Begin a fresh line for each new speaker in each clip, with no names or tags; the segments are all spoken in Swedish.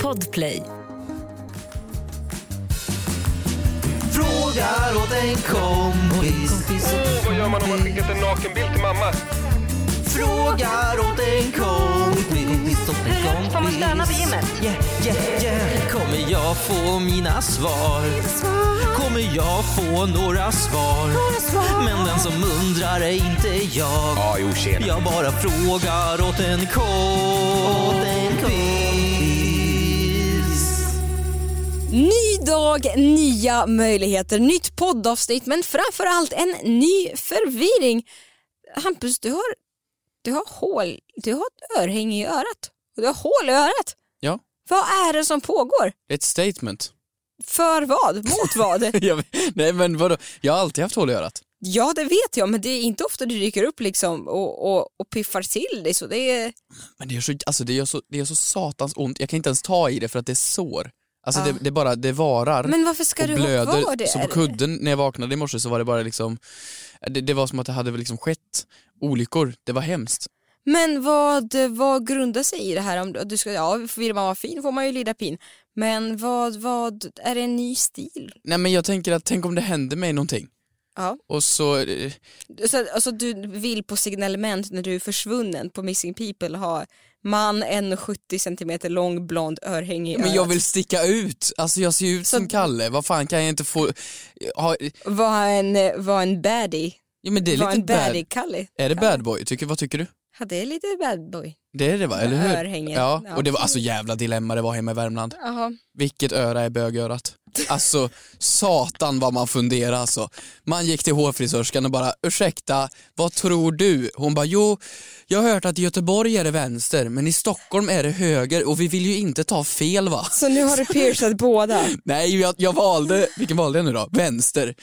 Podplay.
Frågar åt en kompis.
Åh, vad gör man om man skickat en nakenbild till mamma?
Frågar åt en kompis. Åt en kompis.
Får man stöna på gymmet?
Yeah, yeah, yeah. Kommer jag få mina svar? Kommer jag få några svar? Men den som undrar är inte jag.
Ja, jo, tjena.
Jag bara frågar åt en kompis.
Ny dag, nya möjligheter, nytt poddavsnitt men framförallt en ny förvirring. Hampus, du har, du har hål, du har ett örhänge i örat. Och Du har hål i örat.
Ja.
Vad är det som pågår?
Ett statement.
För vad? Mot vad?
Jag, nej men vadå, jag har alltid haft hål i örat.
ja, det vet jag men det är inte ofta du dyker upp liksom och, och, och piffar till dig så det är...
Men det gör så, alltså det gör så, det gör så satans ont, jag kan inte ens ta i det för att det är sår. Alltså
Ja.
det, det bara, det varar
Ah. Men varför ska
och
du ha kvar
blöder.
det?
Så på kudden när jag vaknade i morse så var det bara liksom, det, det var som att det hade liksom skett olyckor, det var hemskt.
Men vad, vad grundar sig i det här? Om du- du ska, ja, vill man vara fin får man ju lida pin. Men vad, vad, är det en ny stil?
Nej men jag tänker att tänk om det händer mig någonting.
Ja.
Och så, eh,
Så, alltså du vill på signalement när du är försvunnen på Missing People ha man 1,70 centimeter lång blond örhänge i
men jag
örat.
vill sticka ut, alltså jag ser ut som Kalle, vad fan kan jag inte få, ha,
Var en, var en baddie.
ja men det är
Var
lite
en
bad,
baddie-kalle.
är det bad boy, tycker, vad tycker du?
Ja, det är lite bad boy.
Det är det va, eller
Med
hur?
örhängen.
Ja,
Ja.
och det var alltså jävla dilemma det var hemma i Värmland.
Jaha.
Vilket öra är bögörat? Alltså, satan vad man funderar alltså. Man gick till hårfrisörskan och bara, ursäkta, vad tror du? Hon bara, jo, jag har hört att i Göteborg är det vänster, men i Stockholm är det höger och vi vill ju inte ta fel va?
Så nu har du piercat båda.
Nej, jag, jag valde, vilken valde jag nu då? Vänster.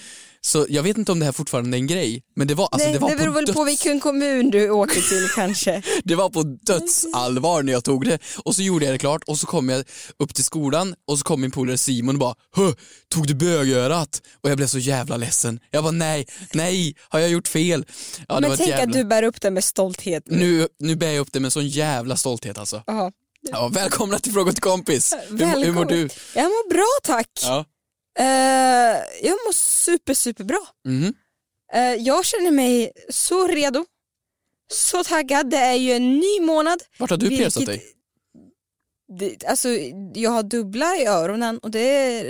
Så jag vet inte om det här fortfarande är en grej, men det var, alltså,
Nej,
det var,
det beror
på,
väl
döds,
på vilken kommun du åker till kanske.
det var på
Mm.
dödsallvar när jag tog det. Och så gjorde jag det klart och så kom jag upp till skolan och så kom min polare Simon och bara Hö, tog du bögörat? Och jag blev så jävla ledsen. Jag bara nej, nej, har jag gjort fel? Ja, det var
Men
ett
tänk
jävla...
att du bär upp det med stolthet.
Nu, nu bär jag upp det med sån jävla stolthet alltså.
Jaha.
Ja, välkomna till Fråga till kompis. Hur, hur mår
Välkommen.
du?
Jag mår bra tack.
Ja.
Eh, jag mår super, super bra.
Mhm.
jag känner mig så redo, så taggad. Det är ju en ny månad.
Vart har du
Vilket-
piercat dig?
Det, alltså, jag har dubbla i öronen och det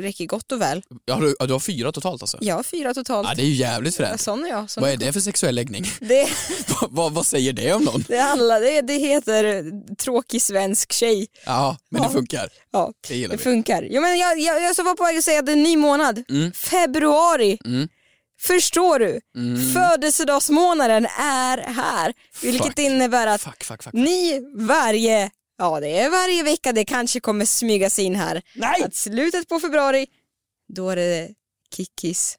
räcker gott och väl.
Ja, du, ja, du har fyra totalt alltså?
Jag har fyra totalt.
Ja, det är ju jävligt fränt.
Sån är jag. Sån.
Vad är det för sexuell läggning?
Det,
vad, vad, vad säger det om någon?
det, är alla, det, det heter tråkig svensk tjej.
Ja, men
Ja.
det funkar.
Ja,
Det gillar
det
vi.
funkar. Jo, men jag, jag, jag så var på väg att säga att det är en ny månad.
Mm.
Februari.
Mm.
Förstår du?
Mm.
Födelsedagsmånaden är här. Vilket
Fuck.
innebär att
Fuck, fuck, fuck.
ni varje, ja det är varje vecka det kanske kommer smyga sig in här.
Nej!
Att slutet på februari, då är det Kikis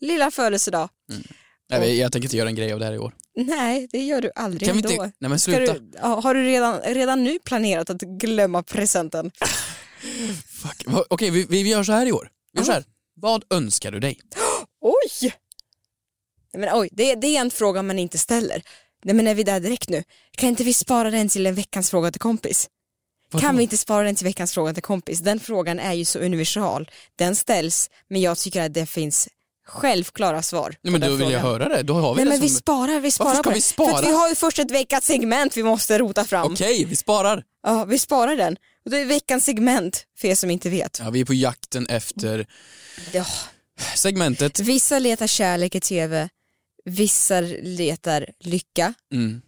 lilla födelsedag.
Nej, men jag tänker inte göra en grej av det här i år.
Nej, det gör du aldrig
Kan vi
ändå.
inte... Nej men
Ska
sluta.
du, ja, har du redan, redan nu planerat att glömma presenten?
Fuck. Va- Okej, vi, vi vi gör så här i år. Vi gör så här. Vad önskar du dig?
Oj! Nej, men oj, det, det är en fråga man inte ställer. Nej men är vi där direkt nu? Kan inte vi spara den till en veckans fråga till kompis?
Vadå?
Kan vi inte spara den till veckans fråga till kompis? Den frågan är ju så universal. Den ställs, men jag tycker att det finns självklara svar. på
Nej men
den
då vill jag
frågan.
höra det. Då har vi
Nej
det
men vi
som...
sparar, vi sparar
ska
på
vi
den. För
spara?
att vi har ju först ett veckans segment vi måste rota fram.
Okej, vi sparar.
Ja, vi sparar den. Och det är veckans segment för er som inte vet.
Ja, vi är på jakten efter
Ja.
segmentet.
Vissa letar kärlek i tv, vissa letar lycka.
Mm.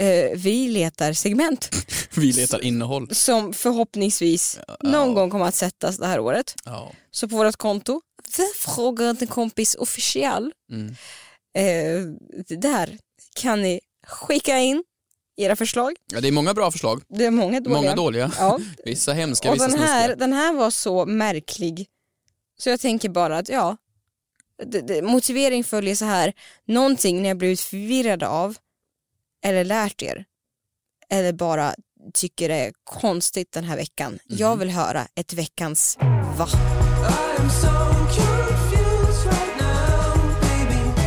Eh, vi letar segment
Vi letar innehåll.
som förhoppningsvis någon gång kommer att sättas det här året.
Ja.
Så på vårt konto, "Vi frågar inte en kompis officiell.
Mm.
Eh, där kan ni skicka in era förslag.
ja, det är många bra förslag.
Det är många dåliga.
Många dåliga.
Ja.
Vissa hemska,
Och
vissa
den här,
snuskiga.
den här var så märklig så jag tänker bara att ja, det, det, motivering följer så här, någonting ni har blivit förvirrade av eller lärt er eller bara tycker det är konstigt den här veckan. Jag
Mhm.
vill höra ett veckans va?
I'm so confused right now, baby.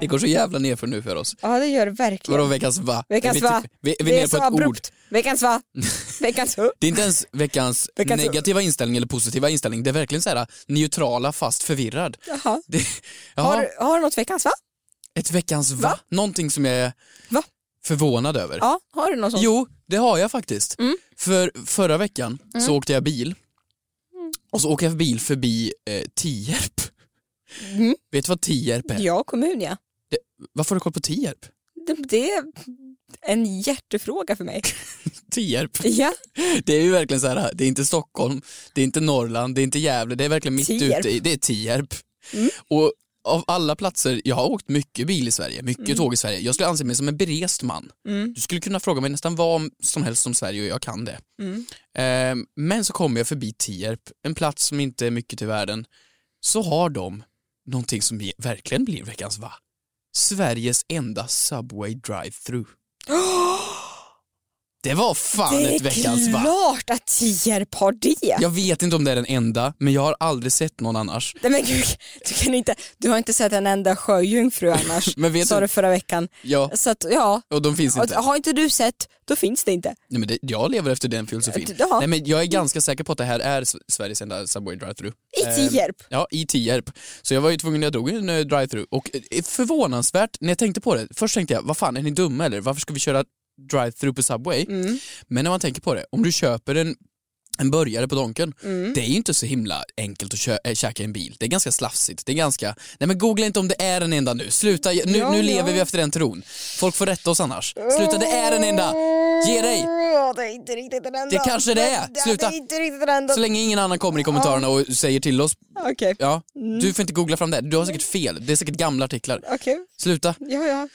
Det går så jävla nerför nu för oss.
Ja det gör det verkligen.
Vadå veckans va?
Veckans
vi, typ-
va?
Vi, vi är ner på ett ord.
Veckans va? Veckans hu?
Det är inte ens veckans
Veckans-
negativa inställning eller positiva inställning. Det är verkligen så här neutrala fast förvirrad.
Jaha.
Det, jaha,
Har, du- har du något veckans va?
ett veckans va?
Va?
Någonting som jag är
Va?
förvånad över.
Ja, har du något sånt?
Jo, det har jag faktiskt.
Mm.
För förra veckan så åkte jag bil och så åker jag bil förbi eh, Tierp.
Mm.
Vet du vad Tierp är?
Ja, kommun ja.
Varför har du koll på Tierp?
Det, det är en hjärtefråga för mig.
Tierp.
Ja,
Det är ju verkligen så här, det är inte Stockholm, det är inte Norrland, det är inte Gävle, det är verkligen mitt
Tierp.
ute i, det är Tierp.
Mm.
Och av alla platser, jag har åkt mycket bil i Sverige, mycket tåg i Sverige. Jag skulle anse mig som en berest man.
Mm.
Du skulle kunna fråga mig nästan vad som helst om Sverige och jag kan det.
Mm.
Ehm, men så kommer jag förbi Tierp, en plats som inte är mycket i världen. Så har de någonting som ge- verkligen blir veckans va? Sveriges enda Subway drive-thru. Det var fan
det
ett veckans
är
va?
klart att Tierp har det.
Jag vet inte om det är den enda, men jag har aldrig sett någon annars.
Nej, men gud, du, kan inte, du har inte sett en enda sjöjungfru annars,
Men vet
sa
du-
du förra veckan.
Ja,
Så att, ja,
och de finns
och,
inte.
har inte du sett, då finns det inte.
Nej, men det, jag lever efter den filosofin.
Jaha.
Nej, men jag är ganska säker på att det här är S- Sveriges enda Subway
I
drive-thru.
Tierp.
Ja, i Tierp. Så jag var ju tvungen, jag drog en eh, drive-thru och eh, förvånansvärt, när jag tänkte på det, först tänkte jag, vad fan är ni dumma eller? Varför ska vi köra drive-thru på Subway?
Mm.
Men när man tänker på det, om du köper en en burgare på Donken,
Mm.
det är ju inte så himla enkelt att kö- äh, käka i en bil. Det är ganska slafsigt. Det är ganska... Nej men googla inte om det är den enda nu. Sluta, nu,
Ja,
nu
ja.
lever vi efter den tron. Folk får rätta oss annars. Sluta, det är den enda! Ge dig!
Ja, det är inte riktigt den enda.
Det kanske det är.
Ja,
Sluta.
Det är inte riktigt den enda.
Så länge ingen annan kommer i kommentarerna och säger till oss,
Okej,
ja,
Mm.
du får inte googla fram det. här. Du har säkert fel. Det är säkert gamla artiklar.
okej.
Sluta.
Ja, ja.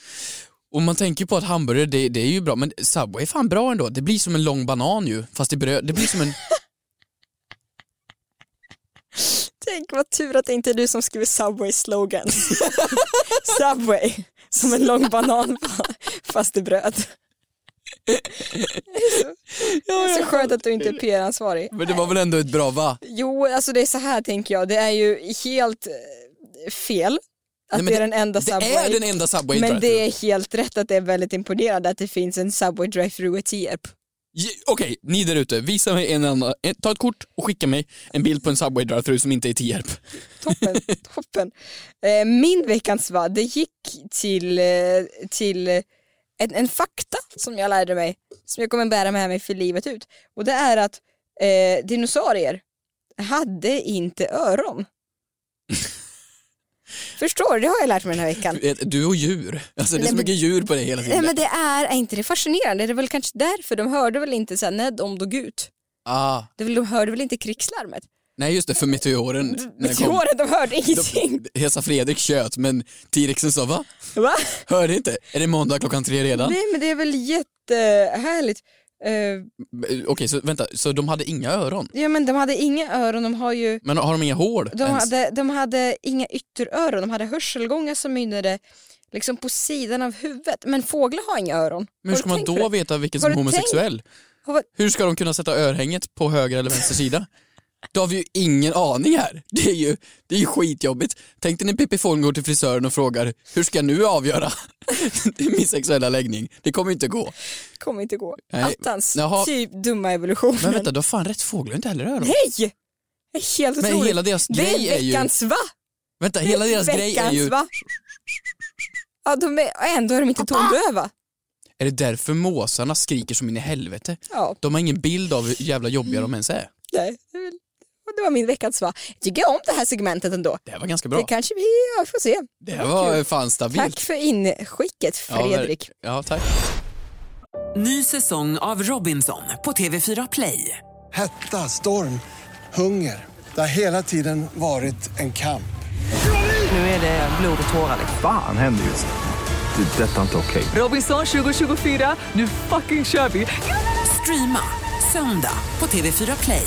Och man tänker på att hamburgare, det, det är ju bra, men Subway är fan bra ändå. Det blir som en lång banan ju, fast i bröd. Det blir som en...
Tänk vad tur att det inte är du som skriver Subway slogan. Subway, som en lång banan fast i bröd. Det är så skönt att du inte är PR-ansvarig.
Men det var väl ändå ett bra va?
Jo, alltså det är så här tänker jag, det är ju helt eh, fel att
Nej, men
det är
det-
den enda
Det
Subway.
är den enda Subway
men
drive-thru.
det är helt rätt att det är väldigt imponerande att det finns en Subway drive-thru i Tierp.
Ge- Okej, ni där ute, visa mig en annan, en, ta ett kort och skicka mig en bild på en Subway drive-thru som inte är i Tierp.
Toppen, toppen. Eh, Min veckans va, det gick till, eh, till eh, en, en fakta som jag lärde mig, som jag kommer bära med mig för livet ut. Och det är att eh, dinosaurier hade inte öron. Förstår du? Det har jag lärt mig den här veckan.
Eh, Du och djur, alltså det är
Nej,
så
men-
mycket djur på dig hela
Nej
tiden.
men det är, är inte det fascinerande? Det är väl kanske därför de hörde väl inte såhär Ned om dog ut.
Ah,
Det är väl- De hörde väl inte krigslarmet?
nej just det, för
Mm,
meteoren. när den kom.
Meteoren, de hörde ingenting.
De- Hesa Fredrik tjöt men T-rexen sa va?
Va?
Hörde inte? Är det måndag klockan tre redan?
Nej men det är väl jättehärligt. Eh,
Eh, Okej, så vänta, så de hade inga öron?
Ja men de hade inga öron, de har ju
Men har de inga hål
de
ens?
hade, de hade inga ytteröron, de hade hörselgångar som mynnade liksom på sidan av huvudet. Men fåglar har inga öron.
Men hur
Har
ska
du
man
tänkt
då
på det?
veta vilken
Har
som är
du tänkt?
homosexuell?
Har vad-
Hur ska de kunna sätta örhänget på höger eller vänster sida? Då har vi ju ingen aning här. Det är ju, det är ju skitjobbigt. Tänk dig när Pippi Fång går till frisören och frågar hur ska jag nu avgöra min sexuella läggning? Det kommer ju inte gå.
kommer inte gå.
Nej.
Attans,
Jaha.
typ dumma evolutionen.
Men vänta, du har fan rätt. Fåglar har inte heller öron.
Nej! Det är helt
Men
otroligt.
hela deras
det
grej är
är
ju-
veckans va?
Vänta, hela deras
veckans,
grej är ju...
Va? Ja, de är, ändå är de inte tondöva.
Är det därför måsarna skriker som in i helvete?
Ja,
De har ingen bild av hur jävla jobbiga de ens är.
nej. det är väl- Det var min veckans va. Jag tycker om det här segmentet ändå.
Det här var ganska bra.
Det kanske vi ja, vi får se.
Det här var fan
Tack
stabilt.
för inskicket
Ja, ver-
Fredrik.
Ja, tack.
Ny säsong av Robinson på TV4 Play.
Hetta, storm, hunger. Det har hela tiden varit en kamp.
Nu är det blod och tårar.
Fan händer just det. Det är detta inte okej.
Robinson 2024, nu fucking kör vi! Streama söndag på TV4 Play.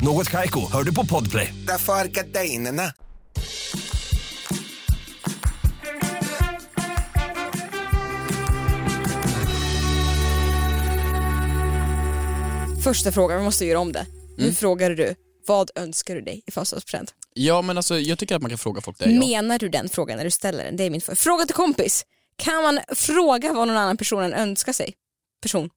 Något Kaiko, hör du på podplay.
Därför är gardinerna.
Första frågan, vi måste göra om det. Nu
Mm.
frågade du, vad önskar du dig i födelsedagspresent?
Ja men alltså jag tycker att man kan fråga folk det. Ja.
Menar du den frågan när du ställer den? Det är min fråga. Fråga till kompis. Kan man fråga vad någon annan person än önskar sig? Person.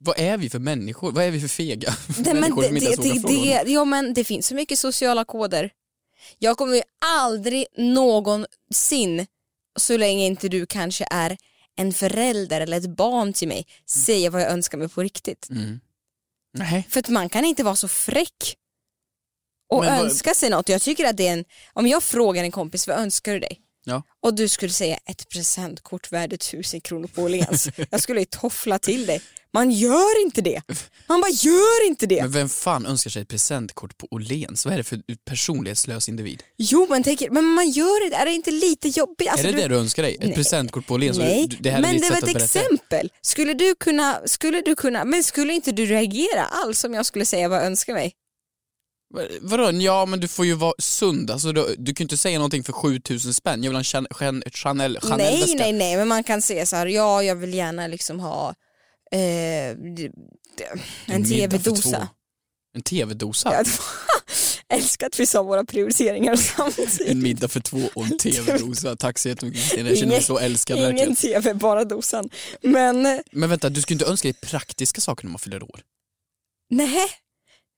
Vad är vi för människor? Vad är vi för fega?
Nej, men
människor
det,
som inte
det,
ens vågar
det,
fråga.
det, ja, men det finns så mycket sociala koder. Jag kommer ju aldrig någonsin, så länge inte du kanske är en förälder eller ett barn till mig, säga vad jag önskar mig på riktigt.
Mm. Nej.
För att man kan inte vara så fräck och
Men vad-
önska sig något. Jag tycker att det är en, om jag frågar en kompis vad önskar du dig?
Ja.
Och du skulle säga ett presentkort värde 1000 kronor på Åhléns. jag skulle ju toffla till dig. Man gör inte det. Man bara gör inte det.
Men vem fan önskar sig ett presentkort på Åhléns? Vad är det för personlighetslös individ?
Jo men tänker, men man gör det, är det inte lite jobbigt? Alltså,
är det det du önskar dig? Ett
Nej.
presentkort på Åhléns?
Nej,
Du- Det här är
men
ditt
det
sätt
var
att
ett
berätta.
exempel. Skulle du kunna, skulle du kunna, men skulle inte du reagera alls om jag skulle säga vad jag önskar mig?
Vad- Vadå? Ja men du får ju vara sund. Alltså, du, du kan ju inte säga någonting för 7000 spänn. Jag vill ha en Chan- Chan- Chanel, Chanel
nej, nej, nej, men man kan säga så här, ja jag vill gärna liksom ha eh, d- d- en tv-dosa.
En tv-dosa?
Ja, det var- Älskar att vi sa våra prioriteringar samtidigt.
En middag för två och en tv-dosa. Tack så jättemycket Kristina, jag känner mig
Ingen-
så älskad
Ingen
verkligen.
tv, bara dosan. Men
Men vänta, du skulle inte önska dig praktiska saker när man fyller år?
nej,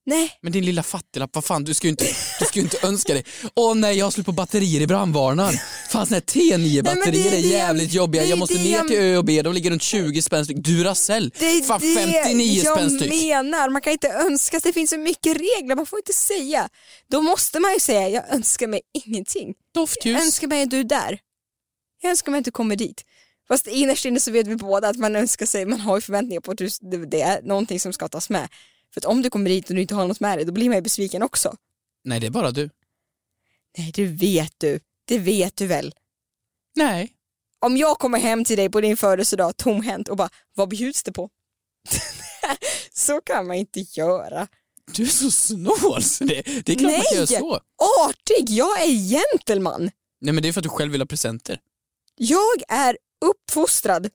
nej.
Men din lilla fattiglapp, vad fan, du ska ju inte, du ska ju inte önska dig. Åh nej, jag har slut på batterier i brandvarnaren. Fan, såna här
Nej, men
T9-batterier
det
är
är det-
jävligt jobbiga.
det är
Jag måste
det
ner
jag-
till Ö och B, de ligger runt 20 spänn styck. Duracell,
Det är
fan
det
59
jag
spänn styck.
menar, man kan inte önska sig, det finns så mycket regler, man får inte säga. Då måste man ju säga, jag önskar mig ingenting. Jag
Doftljus.
önskar mig att du är där. Jag önskar mig att du kommer dit. Fast innerst inne så vet vi båda att man önskar sig, man har ju förväntningar på att du, det- det är någonting som ska tas med. För att om du kommer dit och du inte har något med dig, då blir man ju besviken också.
Nej, det är bara du.
Nej, det vet du. Det vet du väl.
Nej.
Om jag kommer hem till dig på din födelsedag tomhänt och bara, vad bjuds det på? så kan man inte göra.
Du är så snål. så Det, det är klart man kan göra så.
Artig! Jag är gentleman.
Nej, men det är för att du själv vill ha presenter.
Jag är uppfostrad.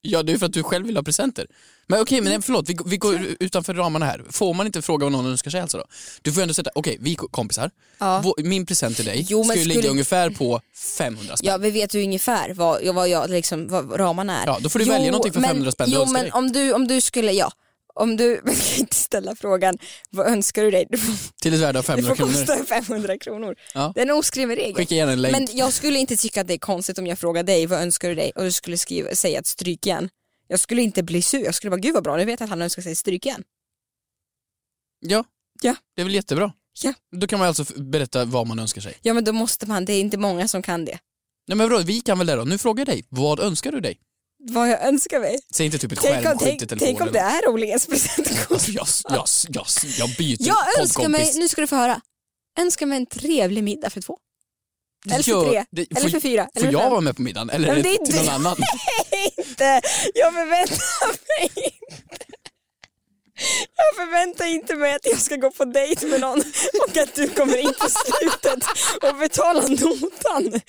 Ja, det är för att du själv vill ha presenter. Men okej,
Mm.
men nej, förlåt, vi, vi går utanför ramarna här. Får man inte fråga vad någon önskar sig alltså då? Du får ju ändå sätta, okej, vi är kompisar. Vå- Min present till dig
Jo,
ska
men
ju ligga
skulle-
ungefär på 500 spänn.
Ja, vi vet ju ungefär vad, vad, jag, liksom, vad ramarna är.
Ja, då får du välja någonting för 500 spänn du
Jo,
önskar
men
dig.
om du, om du skulle, ja. Om du, man kan inte ställa frågan, vad önskar du dig? Det får,
Till ett värde av
det
500
får
kronor.
kosta 500 kronor.
Ja.
Det är en oskriven regel.
Skicka gärna en länk.
Men jag skulle inte tycka att det är konstigt om jag frågar dig, vad önskar du dig? Och du skulle skriva, säga ett strykjärn. Jag skulle inte bli sur, jag skulle bara, gud vad bra, nu vet jag att han önskar sig ett strykjärn.
Ja.
Ja.
det är väl jättebra.
Ja.
Då kan man alltså f- berätta vad man önskar sig.
Ja men då måste man, det är inte många som kan det.
Nej men vadå, vi kan väl det då. Nu frågar jag dig, vad önskar du dig?
Vad jag önskar mig.
Säg inte typ ett
Tänk om,
skärmskydd i
tänk,
telefonen.
tänk om det är Åhléns presentkort.
Alltså, jag, jag, jag, jag byter
Jag önskar mig,
poddkompis.
nu ska du få höra, önskar mig en trevlig middag för två. Eller för
Gör-
tre,
det-
eller
får-
för fyra,
Får
eller för
jag
fem.
vara med på middagen eller
Nej,
är
men
det
det är
till någon
du.
annan?
Inte, jag förväntar mig inte. Jag förväntar inte mig att jag ska gå på dejt med någon och att du kommer in på slutet och betalar notan.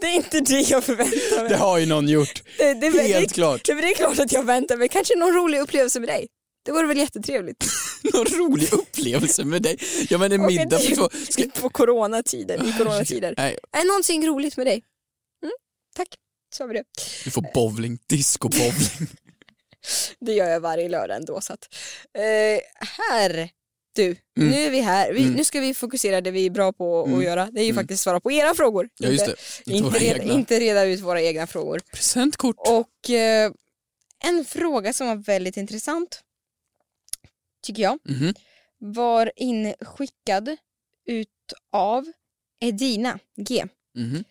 Det är inte det jag förväntar mig.
Det har ju någon gjort.
Det, det, det,
Helt
det,
klart.
Det, det är klart att jag väntar mig kanske någon rolig upplevelse med dig. Det vore väl jättetrevligt.
Någon rolig upplevelse med dig. Ja men en
Och
middag
en-
för två. Ska...
På coronatider, i coronatider.
Nej,
Ah, Är någonting roligt med dig? Mm, tack, så har vi det.
du får bowling, disco-bowling.
Det gör jag varje lördag ändå. Så att, eh, här, du, nu är vi här. Vi, Nu ska vi fokusera det vi är bra på att göra. Det är ju faktiskt svara på era frågor.
Ja, just det. Inte
Inte, inte,
våra
reda,
egna.
inte reda ut våra egna frågor.
Presentkort.
Och eh, en fråga som var väldigt intressant, tycker jag,
Mhm.
var inskickad utav Edina G.
Mhm.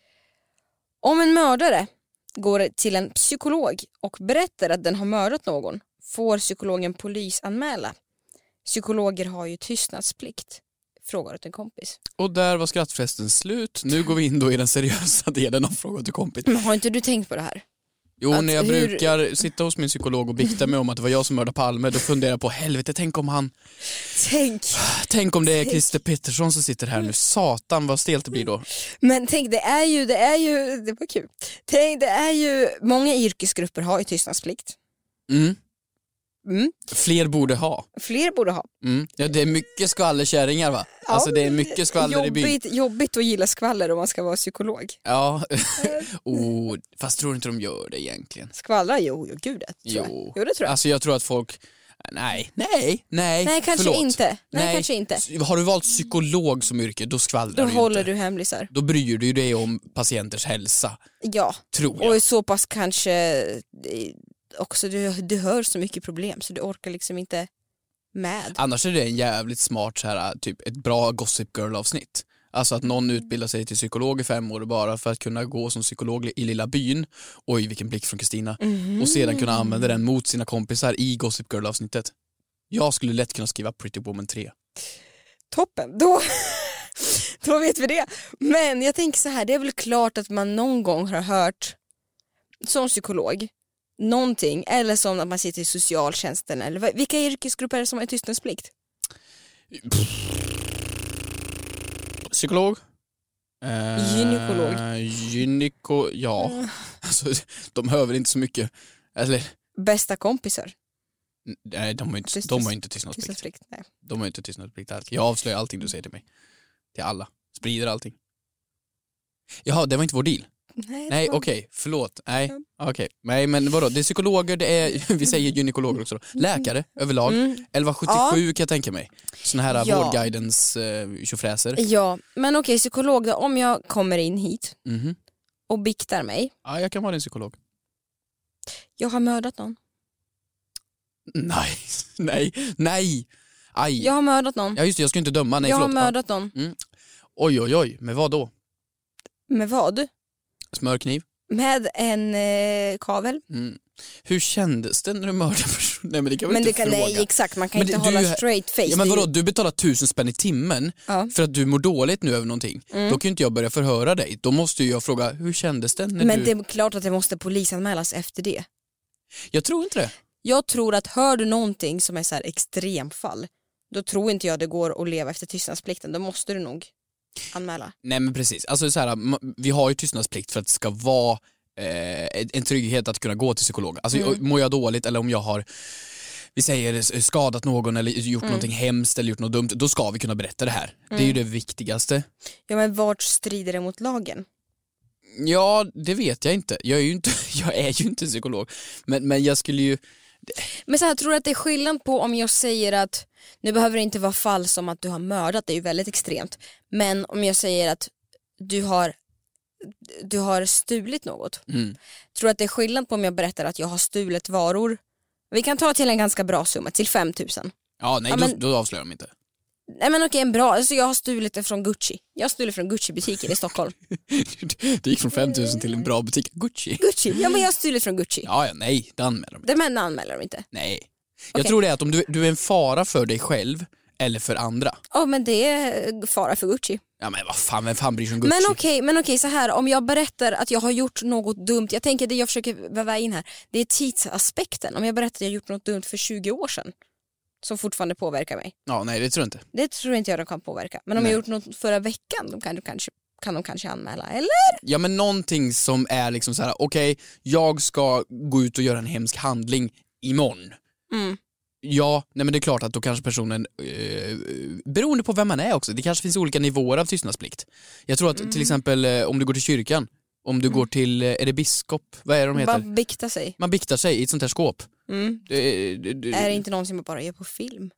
Om en mördare går till en psykolog och berättar att den har mördat någon får psykologen polisanmäla. Psykologer har ju tystnadsplikt, frågar åt en kompis.
Och där var skrattfesten slut. Nu går vi in då i den seriösa delen av Fråga till kompis.
Men har inte du tänkt på det här?
Jo,
Att
när jag
hur-
brukar sitta hos min psykolog och bikta mig om att det var jag som mördade Palme, då funderar jag på helvete, tänk om han,
Tänk,
tänk om det är Christer Pettersson som sitter här nu, satan vad stelt det blir då.
men tänk det är ju, det är ju, det var kul. Tänk det är ju, många yrkesgrupper har ju tystnadsplikt.
Mm.
Mm.
Fler borde ha.
Fler borde ha.
Mm. Ja, det är mycket skvallerkärringar va?
Ja,
alltså det är mycket skvaller i byn.
jobbigt, jobbigt att gilla skvaller om man ska vara psykolog.
Ja, oh, fast tror du inte de gör det egentligen?
Skvallra, jo, jo gud det tror
Jo.
jag. Jo, det tror jag.
Alltså jag tror att folk, nej, nej, nej,
Nej, kanske
förlåt.
inte. Nej, kanske inte.
S- Har du valt psykolog som yrke, då
Då
skvallrar du
håller
inte.
du hemlisar.
Då bryr du dig om patienters hälsa,
Ja,
tror jag.
och så pass kanske eh, också du, du hör så mycket problem så du orkar liksom inte med.
Annars är det en jävligt smart, så här, typ ett bra Gossip Girl-avsnitt. Alltså att någon utbildar sig till psykolog i fem år bara för att kunna gå som psykolog i lilla byn, oj vilken blick från Kristina, och sedan kunna använda den mot sina kompisar i Gossip Girl-avsnittet. Jag skulle lätt kunna skriva Pretty Woman 3.
Toppen, då, då vet vi det. Men jag tänker så här, det är väl klart att man någon gång har hört som psykolog någonting eller som att man sitter i socialtjänsten eller vad- vilka yrkesgrupper är det som har tystnadsplikt?
Psykolog? Eh,
Gynekolog.
Gyneko, ja. Alltså, de hör väl inte så mycket. Eller,
Bästa kompisar?
nej de har ju inte,
Tystnads-
de har ju inte tystnadsplikt.
Tystnadsplikt? Nej.
De har ju inte tystnadsplikt alls. Jag avslöjar allting du säger till mig. Till alla. Sprider allting. Jaha, det var inte vår deal.
Nej,
Nej,
det var-
okej, förlåt. Nej, okej. Nej, men vadå, det är psykologer, det är, vi säger gynekologer också då.
Mm.
Läkare överlag. 1177 kan jag tänka mig. Såna här
Ja.
vårdguidens eh, tjofräser.
Ja, men okej psykolog då, om jag kommer in hit
Mhm.
och biktar mig,
Ja, jag kan vara din psykolog.
jag har mördat någon.
Nej, nej, nej. Aj.
Jag har mördat någon.
Ja just det, jag ska inte döma. Nej,
jag har
förlåt.
mördat någon.
Ja. Oj, oj, oj. Med vad då?
Med vad?
Smörkniv? Mm.
Med en eh, kavel.
Hur kändes det när du mördade personen? Nej men det kan väl
Men det
inte
kan,
fråga?
nej, exakt, man kan
Men
inte
det-
hålla
du-
straight face.
Ja men
Det är
vadå,
ju-
du betalar tusen spänn i timmen
Ja. Mm.
för att du mår dåligt nu över någonting. Då kan ju inte jag börja förhöra dig. Då måste ju jag fråga, hur kändes det när
men
du...
det är klart att det måste polisanmälas efter det.
Jag tror inte det.
Jag tror att hör du någonting som är så här extremfall, då tror inte jag det går att leva efter tystnadsplikten. Då måste du nog anmäla.
Nej men precis, alltså så här, ma- vi har ju tystnadsplikt för att det ska vara eh, en- en trygghet att kunna gå till psykolog. Alltså
Mm.
jag- mår jag dåligt eller om jag har vi säger eh, skadat någon eller gjort
Mm.
någonting hemskt eller gjort något dumt, då ska vi kunna berätta det här. Det är ju det viktigaste.
Ja men vart strider det mot lagen?
Ja, det vet jag inte. Jag är ju inte, jag är ju inte psykolog. Men, men jag skulle ju...
Men så här, tror du att det är skillnad på om jag säger att, nu behöver det inte vara fall som att du har mördat, det är ju väldigt extremt, men om jag säger att du har, du har stulit något.
Mm.
Tror du att det är skillnad på om jag berättar att jag har stulit varor, vi kan ta till en ganska bra summa, till 5000.
Ja, nej,
Ja, men-
Då, då avslöjar de inte.
Nej men okej en bra, alltså jag har stulit det från Gucci. Jag har stulit från Gucci-butiken i Stockholm.
Det gick från 5000 till en bra butik, Gucci.
Gucci? Ja men jag har stulit från Gucci.
Ja, ja, nej, det anmäler de inte.
Det men anmäler de inte.
Nej. Jag
Okej.
tror det är att om du, du är en fara för dig själv eller för andra.
Ja men det är eh, fara för Gucci.
Ja men vad fan, vem fan bryr sig om Gucci?
Men okej, men okej så här om jag berättar att jag har gjort något dumt, jag tänker det jag försöker väva in här, det är tidsaspekten. Om jag berättar att jag har gjort något dumt för 20 år sedan som fortfarande påverkar mig.
Ja, nej det tror jag inte.
Det tror inte jag de kan påverka. Men om jag gjort något förra veckan, då kan, du kanske, kan de kanske anmäla, eller?
Ja men någonting som är liksom så här: okej, jag ska gå ut och göra en hemsk handling imorgon.
Mm.
Ja, nej men det är klart att då kanske personen, eh, beroende på vem man är också, det kanske finns olika nivåer av tystnadsplikt. Jag tror att
Mm.
till exempel eh, om du går till kyrkan, om du går till, eh, är det biskop, vad är det de heter?
Bara bikta sig.
Man biktar sig i ett sånt här skåp.
Mm.
Det, det, det,
Är det inte någon som jag bara gör på film?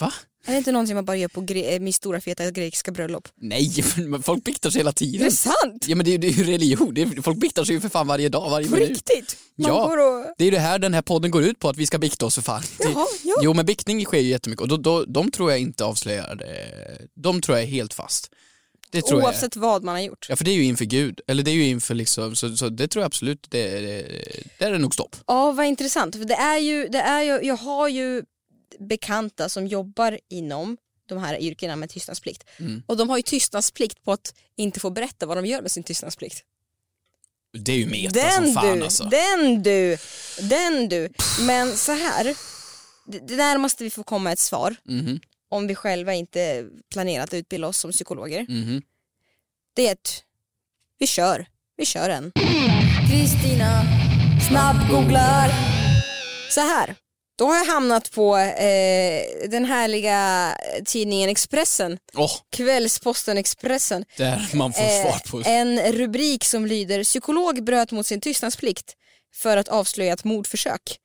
Va?
Är det inte någon som jag bara gör på gre- eh, min stora feta grekiska bröllop?
Nej, men folk biktar sig hela
Det är
tiden.
sant!
Ja men det, är- det är ju religion, det är, folk biktar sig ju för fan varje dag, varje
På
minut.
riktigt! Man
Ja.
går och...
Det är ju det här den här podden går ut på, att vi ska bikta oss för fan.
Jaha, ja.
Jo men biktning sker ju jättemycket och då, då, de tror jag inte avslöjar, eh, de tror jag är helt fast. Det tror jag.
Oavsett vad man har gjort.
Ja för det är ju inför Gud, eller det är ju inför liksom, så, så det tror jag absolut, det, är- det, där är nog stopp.
Ja, vad intressant. För det är ju, det är ju, jag har ju bekanta som jobbar inom de här yrkena med
Mm.
tystnadsplikt. Och de har ju tystnadsplikt på att inte få berätta vad de gör med sin tystnadsplikt.
Det är ju meta
Den
som fan
du,
alltså.
den du, den du. Men så här, det det där måste vi få komma ett svar
Mhm,
om vi själva inte planerat att utbilda oss som psykologer.
mhm.
Det är ett, vi kör, vi kör en.
Kristina
Snabbgooglar. Så här, då har jag hamnat på eh, den härliga tidningen Expressen,
Åh,
Kvällsposten Expressen.
där man får
Eh,
svar på.
En rubrik som lyder “Psykolog bröt mot sin tystnadsplikt för att avslöja ett mordförsök”.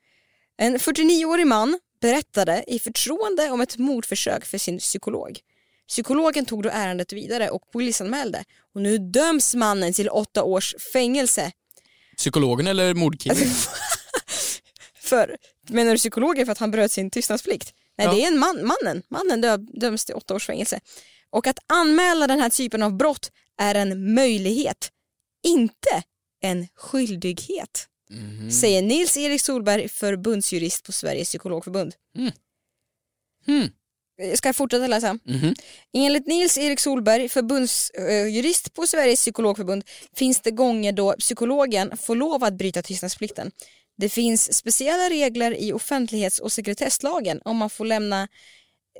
En 49-årig man berättade i förtroende om ett mordförsök för sin psykolog. Psykologen tog då ärendet vidare och polisanmälde och nu döms mannen till åtta års fängelse.
Psykologen eller mordkillen?
Alltså- För, menar du psykologen för att han bröt sin tystnadsplikt? Nej
Ja.
det är en man, mannen, mannen dö, döms till åtta års fängelse. Och att anmäla den här typen av brott är en möjlighet, inte en skyldighet.
Mhm.
Säger Nils-Erik Solberg, förbundsjurist på Sveriges psykologförbund. Eh,
Mm. Hmm.
Ska jag fortsätta läsa?
Mhm.
Enligt Nils-Erik Solberg, förbundsjurist på Sveriges psykologförbund, finns det gånger då psykologen får lov att bryta tystnadsplikten. Det finns speciella regler i offentlighets och sekretesslagen om man får lämna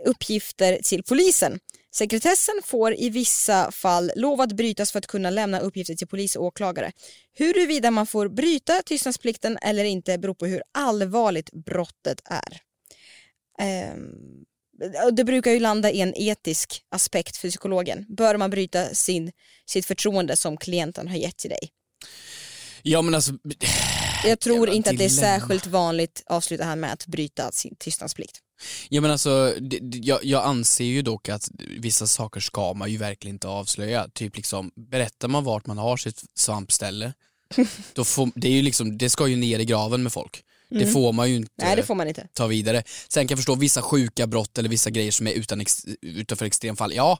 uppgifter till polisen. Sekretessen får i vissa fall lov att brytas för att kunna lämna uppgifter till polis och åklagare. Huruvida man får bryta tystnadsplikten eller inte beror på hur allvarligt brottet är. Ehm, och det brukar ju landa i en etisk aspekt för psykologen. Bör man bryta sin, sitt förtroende som klienten har gett till dig?
Ja men alltså,
Jag tror inte att det är
dilemma.
särskilt vanligt, avslutar han med, att bryta sin tystnadsplikt.
ja, men alltså det, det- jag, jag anser ju dock att vissa saker ska man ju verkligen inte avslöja. Typ liksom, berättar man vart man har sitt svampställe, då får, det, är ju liksom, det ska ju ner i graven med folk. Det får man ju inte.
Mm. Nej, det får man inte.
ta vidare. Sen kan jag förstå vissa sjuka brott eller vissa grejer som är utan ex- utanför extremfall. Ja,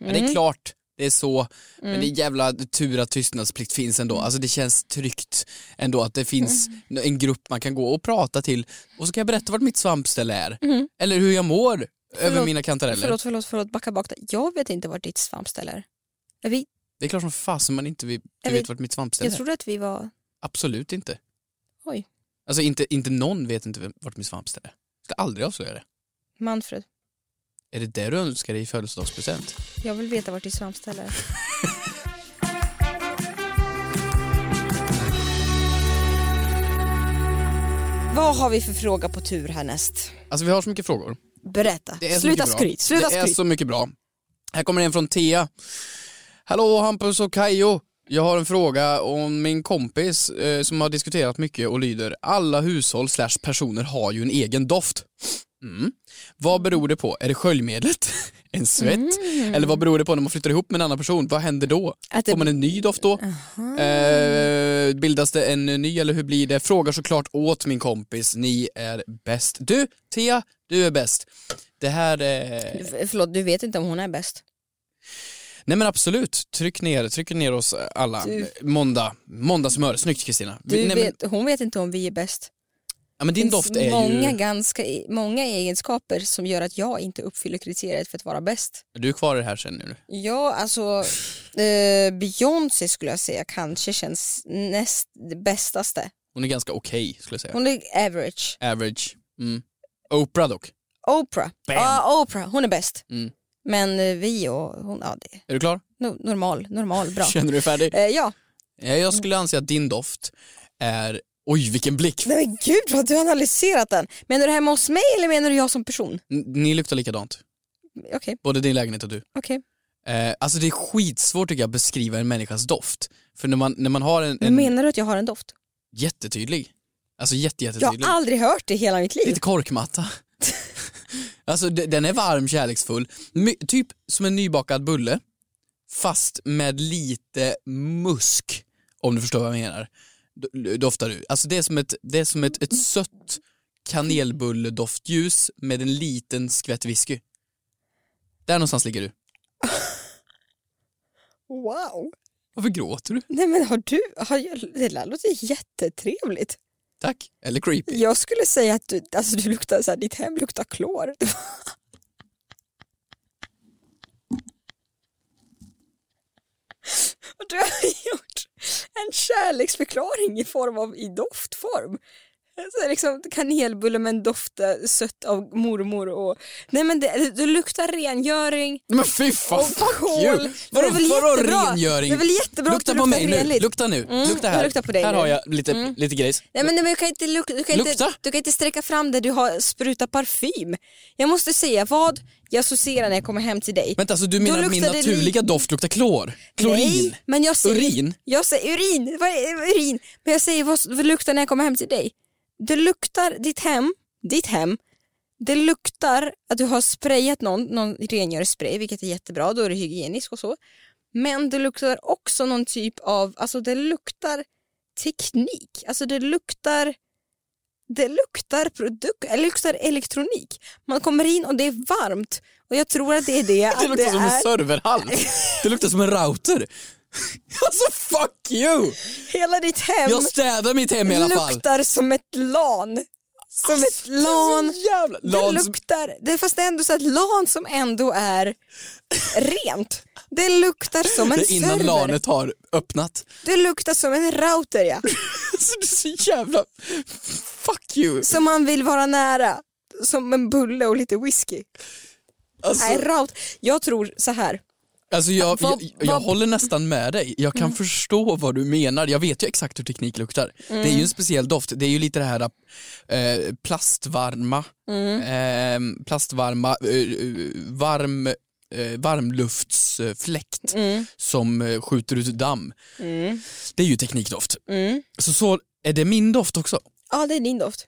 men
Mm.
det är klart. Det är så, men det är jävla tur att tystnadsplikt finns ändå. Alltså det känns tryggt ändå att det finns
Mm.
en grupp man kan gå och prata till och så kan jag berätta vart mitt svampställe är. Eller hur jag mår över mina kantareller.
Mm. Förlåt, förlåt, förlåt, backa bak. där. Jag vet inte vart ditt svampställe är. är. Vi,
Det är klart som fasen man inte vet,
Jag
du
vet-
vet vart mitt svampställe
jag
är.
trodde att vi var...
Absolut inte.
Oj.
Alltså inte, inte någon vet inte vem- vart mitt svampställe är. Jag ska aldrig avslöja det.
Manfred,
Är det det du önskar dig i födelsedagspresent?
jag vill veta vart ditt svampställe är. Vad har vi för fråga på tur härnäst?
Alltså vi har så mycket frågor.
Berätta.
Det är så
Sluta
mycket bra.
skryt. Sluta
Det är
skryt.
så mycket bra. Här kommer en från Thea. Hallå Hampus och Kajo. Jag har en fråga om min kompis eh, som har diskuterat mycket och lyder alla hushåll slash personer har ju en egen doft. Mm. Vad beror det på? Är det sköljmedlet? En svett? Eller vad beror det på när man flyttar ihop med en annan person? Vad händer då?
Mm. Att det-
Får man en ny doft då? Eh, bildas det en ny eller hur blir det? Frågar såklart åt min kompis. Ni är bäst. Du, Thea, du är bäst. Det här... Eh...
F- Förlåt, du vet inte om hon är bäst.
Nej men absolut, tryck ner, tryck ner oss alla.
Du-
Måndag, måndagssmör. Snyggt Kristina.
Du
Nej, men-
vet, hon vet inte om vi är bäst.
ja, men din
Det
doft
finns
är
många,
ju...
ganska, e- många egenskaper som gör att jag inte uppfyller kriteriet för att vara bäst.
Du är kvar i det här sen nu.
Ja, alltså eh, Beyoncé skulle jag säga kanske känns näst det bästaste.
Hon är ganska okej skulle jag säga.
Hon är average.
Average. Mm. Oprah dock.
Oprah.
Bam.
Ja, Oprah. Hon är bäst.
Mm.
Men eh, vi och hon, ja det är
Är du klar?
no- normal, normal, bra.
Känner du dig färdig?
Eh, ja.
Ja, Jag skulle anse att din doft är... Oj vilken blick!
Nej men gud vad du har analyserat den. Menar du det hemma hos mig eller menar du jag som person?
N- Ni luktar likadant.
Okej,
Både din lägenhet och du.
okej.
Eh, alltså det är skitsvårt tycker jag att beskriva en människas doft. För när man, när man har en,
Men
en
Menar du att jag har en doft?
jättetydlig, alltså
Jag
jättejättetydlig.
har aldrig hört det i hela mitt liv.
Lite korkmatta. alltså de- den är varm, kärleksfull. My, typ som en nybakad bulle, fast med lite musk. Om du förstår vad jag menar. Do- Doftar du. Alltså det är som ett, det är som ett, ett sött kanelbulledoftljus med en liten skvätt whisky. Där någonstans ligger du.
Wow.
Varför gråter du?
Nej men har du, har jag, det där låter jättetrevligt.
Tack. Eller creepy.
Jag skulle säga att du, alltså du luktar så här, ditt hem luktar klor. Och du har gjort en kärleksförklaring i form av i doftform. Så liksom kanelbulle men doftar sött av mormor och... Nej men det, det luktar rengöring.
Men fy fan,
Och
fuck
kol.
you!
Men det
Vadå
är väl
vadå
jättebra?
rengöring?
Det är väl jättebra att
lukta
det
på
luktar
mig nu,
renligt.
lukta nu,
Mm,
lukta
jag
här.
luktar på dig
här
nu. Mm.
har jag lite, lite grejs.
Nej men du kan, inte, luk- du, kan
Lukta.
inte, du kan inte sträcka fram det du har sprutat parfym. Jag måste säga vad jag associerar när jag kommer hem till dig.
Vänta, alltså du
Då
menar att min
luktar det
naturliga doft luktar klor? Klorin?
Nej, men jag säger,
Urin?
Jag säger urin, vad är urin? Men jag säger vad, vad luktar när jag kommer hem till dig? Det luktar ditt hem, ditt hem, det luktar att du har sprayat någon, någon rengöringsspray vilket är jättebra, då är det hygieniskt och så. Men det luktar också någon typ av, alltså det luktar teknik, alltså det luktar det luktar produkt, eller luktar elektronik. Man kommer in och det är varmt och jag tror att det är det. att
Det luktar som en
är-
serverhall. Det luktar som en router. Alltså fuck you!
Hela ditt hem
Jag städar mitt hem i alla fall. Alltså,
luktar som ett LAN. Som ett LAN. Det
LAN som-
luktar, det, fast det är ändå så att LAN som ändå är rent. Det luktar som en
Det är innan
server.
lanet har öppnat.
Det luktar som en router ja.
Alltså du är så jävla... Fuck you!
Som man vill vara nära. Som en bulle och lite whisky.
Alltså-
Nej, rout. Jag tror så här.
Alltså jag,
Vad-
jag, jag
vad-
håller nästan med dig. Jag kan förstå vad du menar. Jag vet ju exakt hur teknik luktar.
Mm.
Det är ju en speciell doft. Det är ju lite det här eh, plastvarma,
Mm.
eh, plastvarma, eh, eh, varm, eh, varmluftsfläkt
Mm.
som eh, skjuter ut damm.
Mm.
Det är ju teknikdoft.
Mm.
Så, så är det min doft också?
Ja, det är din doft.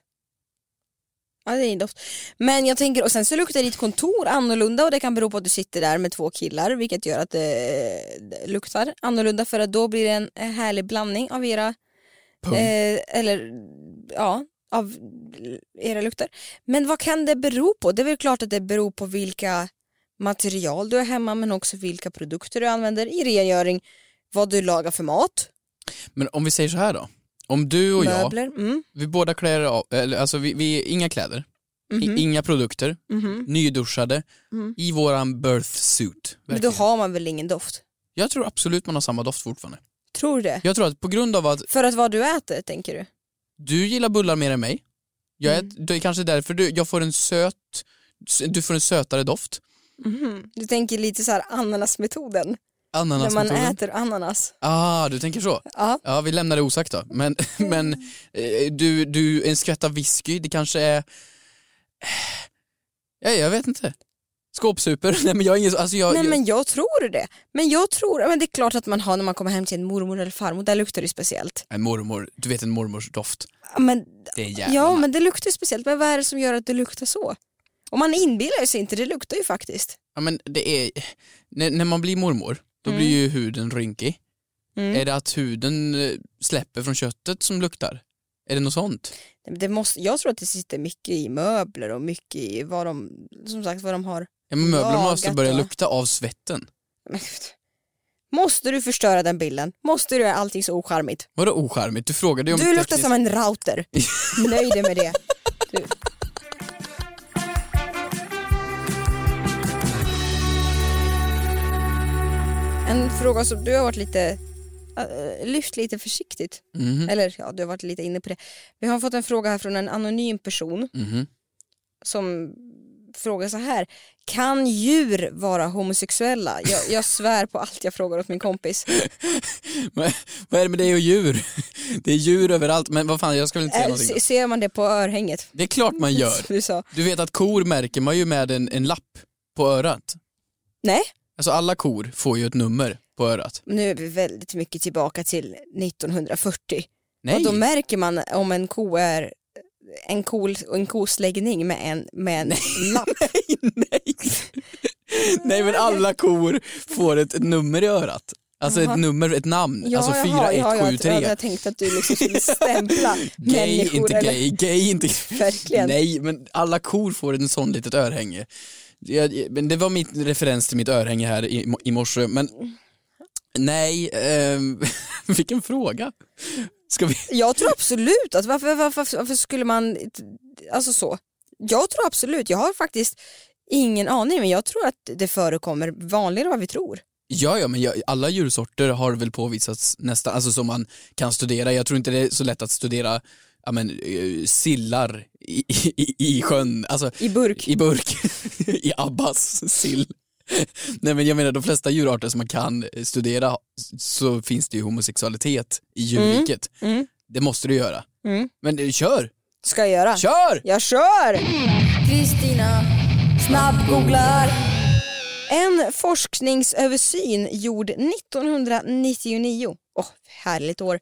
Ja, det är din doft. Men jag tänker, och sen så luktar ditt kontor annorlunda och det kan bero på att du sitter där med två killar vilket gör att det, det luktar annorlunda för att då blir det en eh, härlig blandning av era,
Pung.
eh, eller ja, av era lukter. Men vad kan det bero på? Det är väl klart att det beror på vilka material du har hemma men också vilka produkter du använder i rengöring, vad du lagar för mat,
Men om vi säger så här då. Om du och jag,
möbler. Mm.
vi båda klär av, eller, alltså vi, vi, inga kläder, i-
Mhm.
inga produkter,
Mhm.
nyduschade,
Mm.
i våran birth suit.
Men då
verkligen.
har man väl ingen doft?
Jag tror absolut man har samma doft fortfarande.
Tror du det?
Jag tror att på grund av att
För att vad du äter tänker du?
du gillar bullar mer än mig, jag
Mm.
är, det är kanske därför du, jag får en söt, du får en sötare doft.
Du tänker lite så här ananasmetoden, när man
Ananasmetoden.
äter ananas.
Ah, du tänker så?
Ja.
Ja, vi lämnar det osagt då. Men, men
Mm.
eh, du, du, en skvätt av whisky, det kanske är... Ja, jag vet inte. Skåpsuper? Nej men jag är ingen, alltså jag...
Nej men jag tror det. Men jag tror, men det är klart att man har när man kommer hem till en mormor eller farmor, där luktar det ju speciellt.
En mormor, du vet en mormors doft.
Ja, Men,
Det är jävla
ja men det luktar ju speciellt, men vad är det som gör att det luktar så? Och man inbillar ju sig inte, det luktar ju faktiskt.
Ja men det är, när, när man blir mormor, då
Mm.
blir ju huden rynkig.
Mm.
Är det att huden eh, släpper från köttet som luktar? Är det något sånt?
Nej, men Det måste, jag tror att det sitter mycket i möbler och mycket i vad de, som sagt vad de har.
Ja, men möbler
lagat
måste börja
och-
lukta av svetten.
Men gud. Måste du förstöra den bilden? Måste du göra allting så ocharmigt?
Vadå ocharmigt? Du frågade ju om
Du luktar
tekniskt-
som en router. Nöjd är med det. Du. En fråga som du har varit lite eh, lyft lite försiktigt.
Mhm.
Eller ja, du har varit lite inne på det. Vi har fått en fråga här från en anonym person
Mhm.
som frågar så här. Kan djur vara homosexuella? Jag, jag svär på allt jag frågar åt min kompis.
Men, vad är det med dig och djur? Det är djur överallt, men vad fan jag ska väl inte säga
Äh,
någonting.
se- ser man det på örhänget?
Det är klart man gör.
Som du sa.
Du vet att kor märker man ju med en, en lapp på örat.
Nej,
Alltså alla kor får ju ett nummer på örat.
nu är vi väldigt mycket tillbaka till 1940. Och
Nej,
då märker man om en ko är en, kol, en kosläggning med en, med en lapp.
nej men alla kor får ett, ett nummer i örat. Alltså
Jaha.
ett nummer, ett namn. alltså
jaha,
4173.
jag, jag, jag tänkte att du liksom skulle stämpla
Gay,
människor.
inte
eller-
gay, gay, inte
Verkligen.
Nej, men alla kor får en sån litet örhänge. Jag, men det var min referens till mitt örhänge här i, i morse, men
Mm.
nej, ehm, vilken fråga. Ska vi?
Jag tror absolut att varför, varför, varför skulle man, alltså så. Jag tror absolut, jag har faktiskt ingen aning men jag tror att det förekommer vanligare än vad vi tror.
Ja, ja men jag, alla djursorter har väl påvisats nästan, alltså som man kan studera. Jag tror inte det är så lätt att studera ja, men, eh, sillar i, i, i sjön. Alltså,
I burk.
I burk. I abbas sill. Nej men jag menar de flesta djurarter som man kan studera så finns det ju homosexualitet i djurriket.
Mm.
Det måste du göra.
Mm.
Men eh, kör!
Ska jag göra?
Kör!
Jag kör!
Kristina snabbgooglar.
En forskningsöversyn gjord 1999, åh härligt år,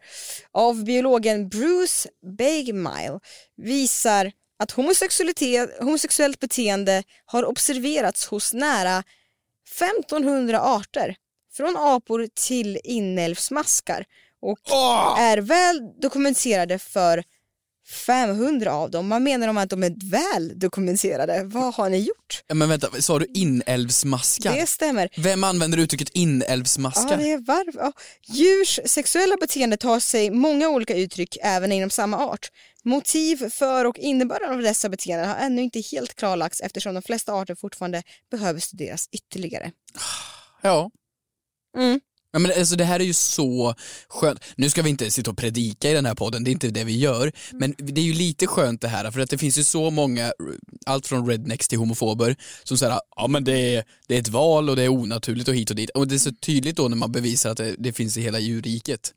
av biologen Bruce Bagmile visar att homosexualitet, homosexuellt beteende har observerats hos nära 1500 arter från apor till inälvsmaskar och är väl dokumenterade för 500 av dem. Man menar om att de är väl dokumenterade. Vad har ni gjort?
Ja, men vänta, sa du inälvsmaskar?
Det stämmer.
Vem använder uttrycket inälvsmaskar?
Ja, det är varv. Ja. Djurs sexuella beteende tar sig många olika uttryck även inom samma art. Motiv för och innebörden av dessa beteenden har ännu inte helt klarlagts eftersom de flesta arter fortfarande behöver studeras ytterligare.
Ja.
Mm.
Ja, men alltså, det här är ju så skönt. Nu ska vi inte sitta och predika i den här podden, det är inte det vi gör. Men det är ju lite skönt det här, för att det finns ju så många, allt från rednecks till homofober, som säger ja men det är, det är ett val och det är onaturligt och hit och dit. Och det är så tydligt då när man bevisar att det, det finns i hela djurriket.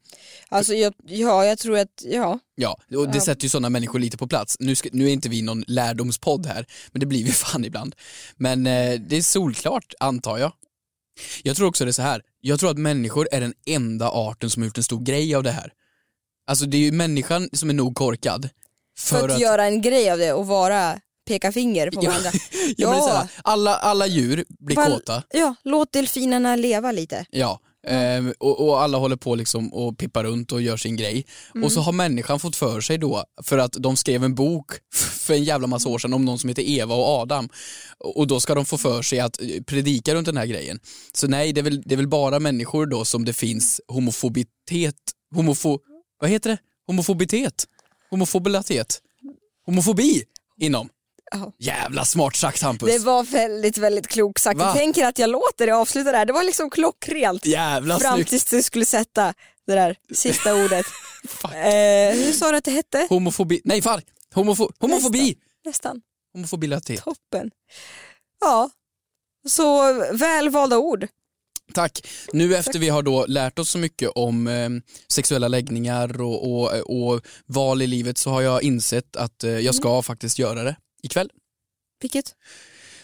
Alltså, jag, ja, jag tror att, ja.
Ja, och det
Ja.
sätter ju sådana människor lite på plats. Nu, ska, nu är inte vi någon lärdomspodd här, men det blir vi fan ibland. Men eh, det är solklart, antar jag. Jag tror också det är så här, jag tror att människor är den enda arten som har gjort en stor grej av det här. Alltså det är ju människan som är nog korkad.
För, att, göra en grej av det och vara peka finger på varandra.
ja, men det är så
Ja.
här, alla, alla djur blir
Val-
kåta.
Ja, låt delfinerna leva lite.
Ja, ehm, och, och alla håller på liksom och pippar runt och gör sin grej.
Mm.
Och så har människan fått för sig då, för att de skrev en bok för en jävla massa år sedan om någon som heter Eva och Adam. Och då ska de få för sig att eh, predika runt den här grejen. Så nej, det är väl, det är väl bara människor då som det finns homofobitet, homofo... Vad heter det? Homofobitet? Homofobelitet? Homofobi inom.
Ja.
Jävla smart sagt Hampus.
Det var väldigt, väldigt klokt sagt.
Va?
Jag tänker att jag låter det avsluta där. Det var liksom klockrent.
Jävla
Fram
snyggt.
tills du skulle sätta det där sista ordet. eh, hur sa du att det hette?
Homofobi, nej fan, homofo, homofobi!
Nästan.
Homofobilitet.
Toppen. Ja, så välvalda ord.
Tack. Nu efter vi har då lärt oss så mycket om eh, sexuella läggningar och, och, och val i livet så har jag insett att eh, jag ska
Mm.
faktiskt göra det ikväll.
Vilket?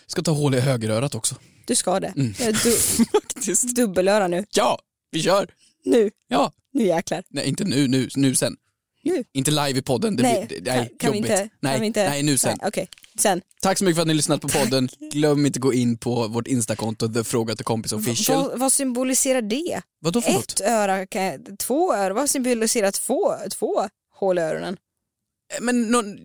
Ska ta hål i högerörat också.
Du ska det.
Mm.
Jag är Du, dubbelöra nu.
Ja, vi kör!
Nu,
Ja,
nu jäklar.
nej inte nu, nu, nu sen.
Nu.
Inte live i podden, det
nej,
blir det, nej,
kan, kan, vi
jobbigt.
inte,
nej,
kan vi inte?
nej, nu sen.
Okej, sen.
Tack så mycket för att ni har lyssnat på podden. Glöm inte gå in på vårt instakonto, the fråga till kompis official.
Vad, vad symboliserar det?
Vadå för något?
Ett öra, kan jag, två öra, vad symboliserar två, två hål i öronen?
men någon,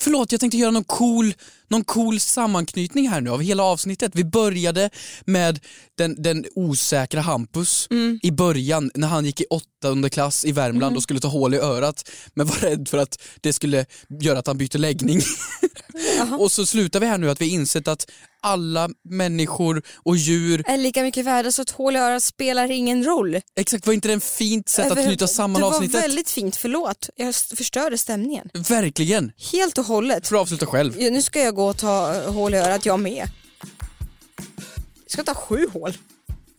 förlåt, jag tänkte göra någon cool, någon cool sammanknytning här nu av hela avsnittet. Vi började med den, den osäkra Hampus
Mm.
i början när han gick i åttonde klass i Värmland och skulle ta hål i örat men var rädd för att det skulle göra att han bytte läggning. och så slutar vi här nu att vi insett att alla människor och djur,
Är lika mycket värda så ett hål i örat spelar ingen roll.
exakt var inte det en fint sätt att
Över-
knyta samman
Alltså, Det
avsnittet?
var väldigt fint, förlåt. Jag s- förstörde stämningen.
Verkligen!
Helt och hållet.
För att avsluta själv.
Ja, Nu ska jag gå och ta eh, hål i örat jag med. Jag ska ta sju hål.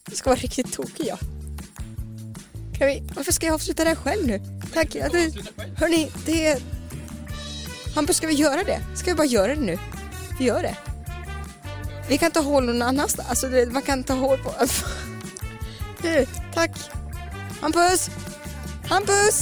Jag ska vara riktigt tokig jag. Kan vi, varför ska jag avsluta det här själv nu? Tack. Jag, det, hörni, det är... Hampus, ska vi göra det? Ska vi bara göra det nu? Vi gör det. Vi kan ta hål någon annanstans. Alltså, det, man kan ta hål på... Du, tack. Hampus! Hampus!